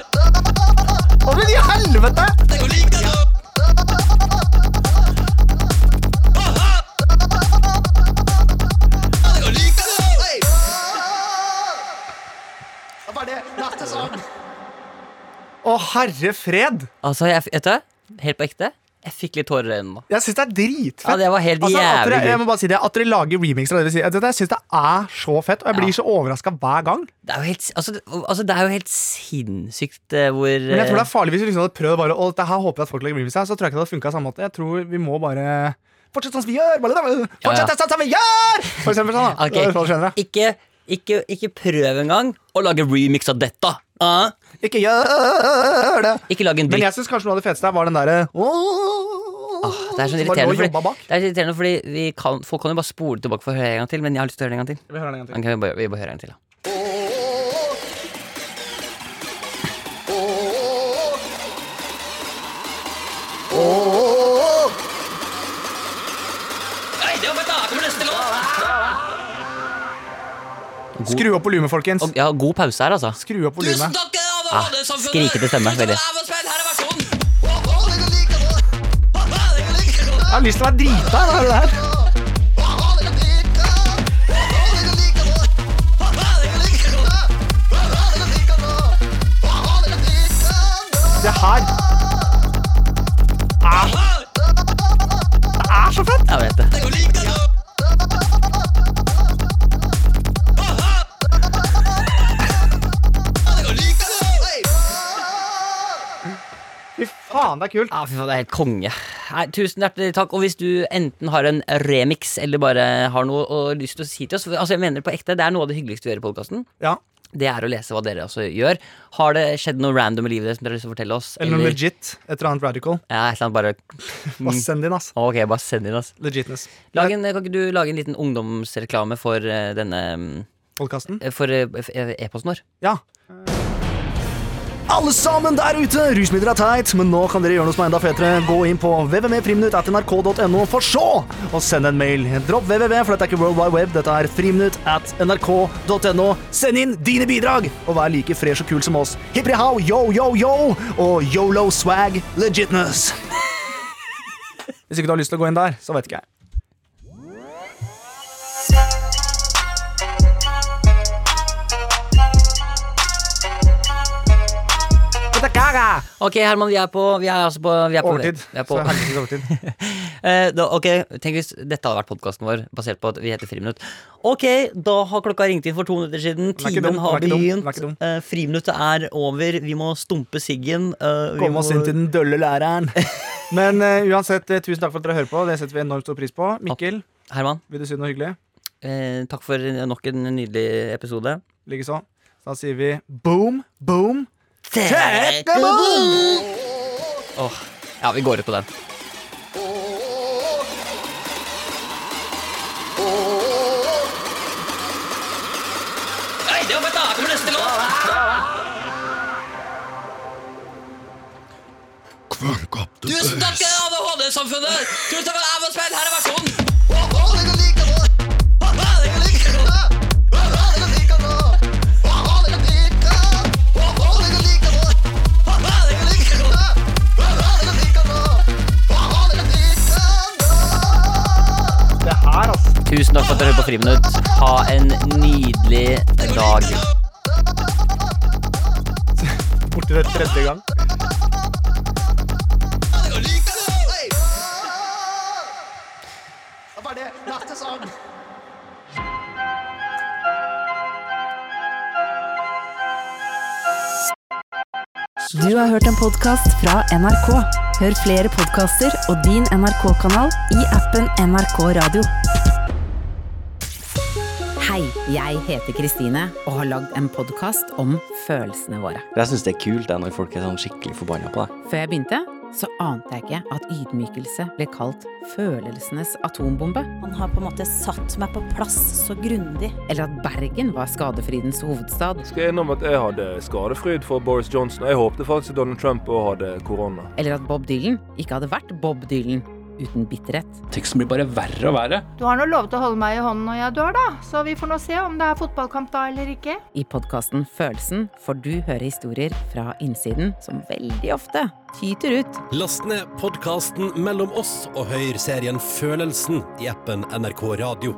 Speaker 3: Å, men i helvete! Å, herre fred!
Speaker 2: Altså, jeg, vet du, helt på ekte, jeg fikk litt tårer i øynene nå.
Speaker 3: Jeg syns det er dritfett.
Speaker 2: Ja, det var helt
Speaker 3: at dere,
Speaker 2: jævlig gøy.
Speaker 3: Altså, jeg må bare si det, at dere lager remixer av det vi sier. Jeg syns det er så fett, og jeg blir så overraska hver gang.
Speaker 2: Det er jo helt, altså, det- altså, det er jo helt sinnssykt eh, hvor
Speaker 3: Men jeg tror det
Speaker 2: eh,
Speaker 3: er farlig hvis vi liksom hadde prøvd bare å dette her håper jeg at folk lager remix av, så tror jeg ikke det hadde funka samme måte. Jeg tror vi må bare fortsette sånn som vi gjør! Bare, fortsette sånn som vi gjør! For eksempel sånn, da.
Speaker 2: eh, Ok.
Speaker 3: Det er sånn skjønner jeg.
Speaker 2: ikke, ikke, ikke prøv engang å lage remix av dette! Ah,
Speaker 3: Ikke gjør det!
Speaker 2: ikke lag en
Speaker 3: Men
Speaker 2: dritt. Ah,
Speaker 3: jeg syns kanskje noe av det feteste her var den derre
Speaker 2: Det er så irriterende, fordi, det er så irriterende fordi vi kan, folk kan jo bare spole tilbake for å høre en gang til, men jeg har lyst til å høre det en gang til.
Speaker 3: Vi hører den en gang
Speaker 2: Ok,
Speaker 3: til.
Speaker 2: vi bare, vi bare hører en til, da.
Speaker 3: Skru opp volumet, folkens.
Speaker 2: Og, ja, god pause her, altså.
Speaker 3: Skru opp volumet.
Speaker 2: Ah, skrikete stemme. Veldig.
Speaker 3: Jeg har lyst til å være drita. da, hører du Det her. Det her er så fett!
Speaker 2: Jeg
Speaker 11: Ah,
Speaker 2: vet det.
Speaker 3: Fy faen, det er kult.
Speaker 2: Ja, fy faen, det er helt konge. Nei, tusen hjertelig takk. Og hvis du enten har en remix eller bare har noe og lyst til å si til oss for- Altså, jeg mener på ekte, Det er noe av det hyggeligste vi gjør i podkasten.
Speaker 3: Ja.
Speaker 2: Det er å lese hva dere også gjør. Har det skjedd noe random i livet deres som dere har lyst til å fortelle oss?
Speaker 3: Eller Mm. noe legit. Et eller annet radical.
Speaker 2: Ja, et eller annet bare Mm.
Speaker 3: Bare Send din, ass.
Speaker 2: Ok, bare send inn, altså.
Speaker 3: Legitness.
Speaker 2: Lag en, kan ikke du lage en liten ungdomsreklame for eh, denne
Speaker 3: Podkasten.
Speaker 2: eh, For eh, f- eh, e-posten vår?
Speaker 3: Ja. Alle sammen der ute, rusmidler er teit, men nå kan dere gjøre noe som er enda fetere. Gå inn på www.friminutt.nrk.no for så å sende en mail. Dropp www, for dette er ikke World Wide Web, dette er friminutt.nrk.no. Send inn dine bidrag, og vær like fresh og kul som oss. Hippri how, yo, yo, yo, og yolo swag legitness. Hvis ikke du har lyst til å gå inn der, så vet ikke jeg. Dette er
Speaker 2: Daga! Ok, Herman, vi er på Vi er altså på vi er på,
Speaker 3: Overtid.
Speaker 2: Vi er på,
Speaker 3: Så-
Speaker 2: Eh, da, ok, Tenk hvis dette hadde vært podkasten vår, basert på at vi heter Friminutt. Ok, da har klokka ringt inn for to minutter siden.
Speaker 3: er ikke dum,
Speaker 2: Timen har
Speaker 3: den er ikke dum, den er
Speaker 2: begynt. Eh, friminuttet er over. Vi må stumpe siggen. eh, vi
Speaker 3: Komme oss
Speaker 2: må-
Speaker 3: inn til den dølle læreren. Men eh, uansett, eh, tusen takk for at dere hører på. Det setter vi enormt stor pris på. Mikkel,
Speaker 2: Herman,
Speaker 3: vil du si noe hyggelig?
Speaker 2: eh, takk for nok en nydelig episode.
Speaker 3: Likeså. Så da sier vi boom, boom,
Speaker 2: take
Speaker 3: the boom!
Speaker 2: Åh, ja, vi går ut på den. Nei, det var fett, da! Her kommer neste låt! Tusen takk til ADHD-samfunnet! Tusen takk for at jeg var spent! Her er versjonen! Tusen takk for at dere hører på Friminutt. Ha en nydelig dag.
Speaker 3: Borti det tredje gang.
Speaker 1: Du har hørt en podkast fra NRK. Hør flere podkaster og din NRK-kanal i appen NRK Radio.
Speaker 12: Hei, jeg heter Kristine og har lagd en podkast om følelsene våre.
Speaker 13: Jeg syns det er kult det når folk er sånn skikkelig forbanna på deg.
Speaker 12: Før jeg begynte, så ante jeg ikke at ydmykelse ble kalt følelsenes atombombe.
Speaker 14: Han har på en måte satt meg på plass så grundig.
Speaker 12: Eller at Bergen var skadefridens hovedstad.
Speaker 15: skal jeg innom at jeg hadde skadefryd for Boris Johnson. og Jeg håpte faktisk at Donald Trump òg hadde korona.
Speaker 12: Eller at Bob Dylan ikke hadde vært Bob Dylan uten bitterhet.
Speaker 16: Teksten blir bare verre og verre.
Speaker 17: Du har nå lovet å holde meg i hånden når jeg dør, da, så vi får nå se om det er fotballkamp da eller ikke.
Speaker 12: I podkasten Følelsen får du høre historier fra innsiden som veldig ofte tyter ut.
Speaker 18: Last ned podkasten Mellom oss og hør serien Følelsen i appen NRK Radio.